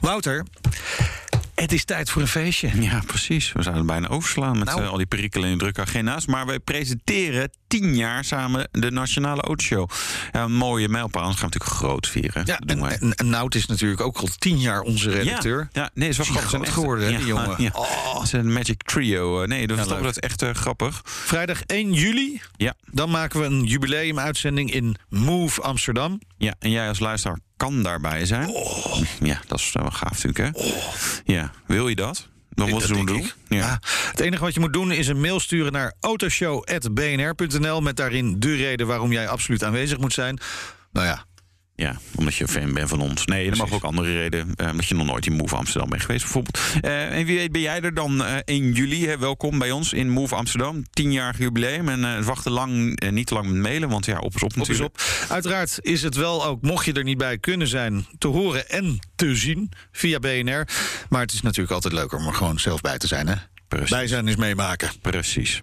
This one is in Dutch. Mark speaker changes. Speaker 1: Wouter, het is tijd voor een feestje.
Speaker 2: Ja, precies. We zouden bijna overslaan met
Speaker 1: Nou.
Speaker 2: eh, al die perikelen en drukke agenda's. Maar wij presenteren tien jaar samen de Nationale Autoshow. Ja, een mooie mijlpaal, anders gaan we natuurlijk groot vieren.
Speaker 1: Ja,
Speaker 2: Dat doen
Speaker 1: en,
Speaker 2: wij.
Speaker 1: en, en Nout is natuurlijk ook al tien jaar onze redacteur.
Speaker 2: Ja, ja, nee, het is
Speaker 1: Is
Speaker 2: wel
Speaker 1: hij
Speaker 2: grappig.
Speaker 1: groot
Speaker 2: Zijn
Speaker 1: geworden, hè, die jongen?
Speaker 2: Ja,
Speaker 1: Oh.
Speaker 2: Het is een magic trio. Eh, Nee, dat is
Speaker 1: Ja,
Speaker 2: toch
Speaker 1: leuk.
Speaker 2: dat echt eh, grappig.
Speaker 1: Vrijdag 1 juli,
Speaker 2: Ja.
Speaker 1: dan maken we een jubileumuitzending in Move Amsterdam.
Speaker 2: ja, en jij als luisteraar kan daarbij zijn.
Speaker 1: Oh.
Speaker 2: Ja, dat is wel gaaf natuurlijk, hè? Ja, wil je dat? Dan wat
Speaker 1: Dat
Speaker 2: ze doen
Speaker 1: denk
Speaker 2: doen.
Speaker 1: Oh. ik. Ah. Ja. Het enige wat je moet doen is een mail sturen naar autoshow.bnr.nl... met daarin de reden waarom jij absoluut aanwezig moet zijn. Nou ja,
Speaker 2: Ja, omdat je fan bent van ons. Nee, er mag ook andere reden. eh, Omdat je nog nooit in Move Amsterdam bent geweest, bijvoorbeeld. Eh, en wie weet ben jij er dan eh, 1 juli. Hè, welkom bij ons in Move Amsterdam. Tienjarig jubileum. En eh wachten lang, eh, niet te lang met mailen, want ja, op is
Speaker 1: op
Speaker 2: op
Speaker 1: is
Speaker 2: natuurlijk.
Speaker 1: op. Uiteraard is het wel ook, mocht je er niet bij kunnen zijn... te horen en te zien via BNR. Maar het is natuurlijk altijd leuker om er gewoon zelf bij te zijn, hè?
Speaker 2: Precies.
Speaker 1: Bij zijn is meemaken.
Speaker 2: Precies.